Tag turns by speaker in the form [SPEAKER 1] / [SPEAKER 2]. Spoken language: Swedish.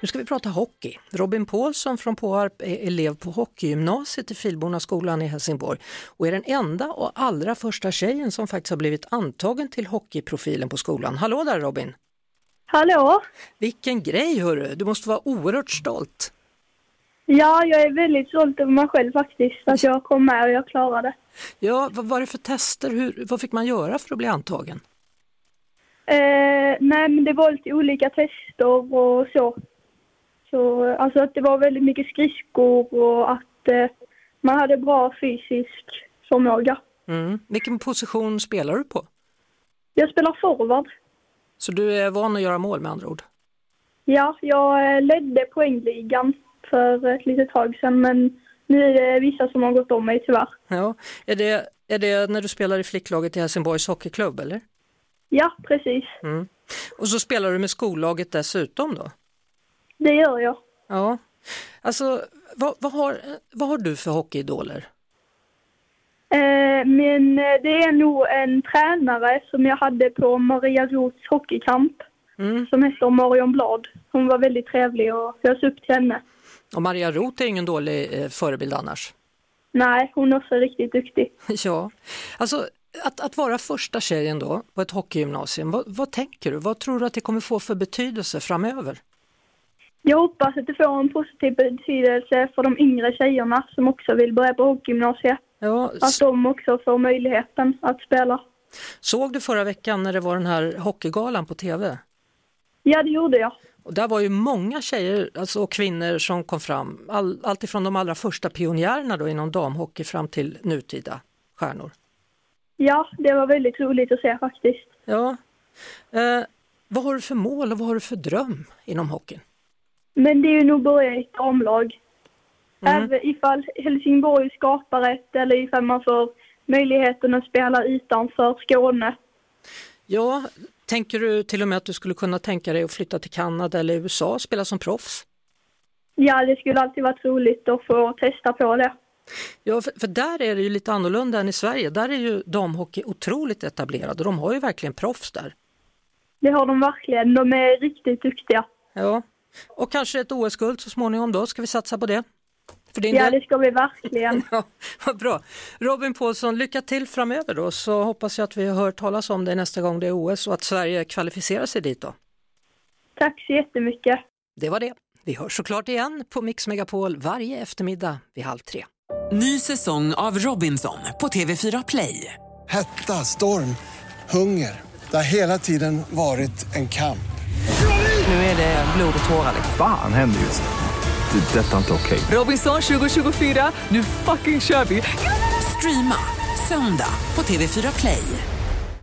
[SPEAKER 1] Nu ska vi prata hockey. Robin Paulsson från Påarp är elev på hockeygymnasiet i Filborna skolan i Helsingborg och är den enda och allra första tjejen som faktiskt har blivit antagen till hockeyprofilen på skolan. Hallå där Robin!
[SPEAKER 2] Hallå?
[SPEAKER 1] Vilken grej hörru, du måste vara oerhört stolt.
[SPEAKER 2] Ja, jag är väldigt stolt över mig själv faktiskt, att jag kom med och jag klarade.
[SPEAKER 1] Ja, vad var det för tester, Hur, vad fick man göra för att bli antagen?
[SPEAKER 2] Eh, nej, men det var lite olika tester och så. så alltså att det var väldigt mycket skridskor och att eh, man hade bra fysisk förmåga.
[SPEAKER 1] Mm. Vilken position spelar du på?
[SPEAKER 2] Jag spelar forward.
[SPEAKER 1] Så du är van att göra mål med andra ord?
[SPEAKER 2] Ja, jag eh, ledde poängligan för ett litet tag sedan, men nu är det vissa som har gått om mig tyvärr.
[SPEAKER 1] Ja. Är det, är det när du spelar i flicklaget i Helsingborgs hockeyklubb eller?
[SPEAKER 2] Ja, precis.
[SPEAKER 1] Och så spelar du med skollaget dessutom då?
[SPEAKER 2] Det gör jag.
[SPEAKER 1] Ja. Alltså, vad, vad, har, vad har du för hockeyidoler?
[SPEAKER 2] Eh, men eh, det är nog en tränare som jag hade på Maria Roths hockeykamp som heter Marion Blad. Hon var väldigt trevlig och jag ser upp till henne.
[SPEAKER 1] Och Maria Roth är ingen dålig eh, förebild annars.
[SPEAKER 2] Nej, hon är också riktigt duktig.
[SPEAKER 1] ja. Alltså, att, att vara första tjejen då på ett hockeygymnasium, vad, vad tänker du? Vad tror du att det kommer få för betydelse framöver?
[SPEAKER 2] Jag hoppas att det får en positiv betydelse för de yngre tjejerna som också vill börja på hockeygymnasiet.
[SPEAKER 1] Ja,
[SPEAKER 2] Att de också får möjligheten att spela.
[SPEAKER 1] Såg du förra veckan när det var den här hockeygalan på tv?
[SPEAKER 2] Ja, det gjorde jag.
[SPEAKER 1] Och där var ju många tjejer alltså, och kvinnor som kom fram, all, allt ifrån de allra första pionjärerna då inom damhockey fram till nutida stjärnor.
[SPEAKER 2] Ja, det var väldigt roligt att se faktiskt.
[SPEAKER 1] Ja. Eh, vad har du för mål och vad har du för dröm inom hockeyn?
[SPEAKER 2] Men det är ju nog börja i ett omlag. Även ifall Helsingborg skapar ett eller ifall man får möjligheten att spela utanför Skåne.
[SPEAKER 1] Ja, tänker du till och med att du skulle kunna tänka dig att flytta till Kanada eller USA och spela som proffs?
[SPEAKER 2] Ja, det skulle alltid varit roligt att få testa på det.
[SPEAKER 1] Ja, för, för där är det ju lite annorlunda än i Sverige. Där är ju damhockey otroligt etablerad och de har ju verkligen proffs där.
[SPEAKER 2] Det har de verkligen. De är riktigt duktiga.
[SPEAKER 1] Ja, och kanske ett OS-guld så småningom då, ska vi satsa på det? För din
[SPEAKER 2] Ja,
[SPEAKER 1] del?
[SPEAKER 2] det ska vi verkligen.
[SPEAKER 1] Ja, vad bra. Robin Paulsson, lycka till framöver då så hoppas jag att vi hör talas om dig nästa gång det är OS och att Sverige kvalificerar sig dit då.
[SPEAKER 2] Tack så jättemycket.
[SPEAKER 1] Det var det. Vi hörs såklart igen på Mix Megapol varje eftermiddag vid halv tre.
[SPEAKER 3] Ny säsong av Robinson på TV4 Play.
[SPEAKER 4] Hetta, storm, hunger. Det har hela tiden varit en kamp.
[SPEAKER 3] Nu är det blod och tårar.
[SPEAKER 5] Fan händer just nu. Det. är Detta är inte okej.
[SPEAKER 3] Robinson 2024, nu fucking kör vi! Streama söndag på TV4 Play.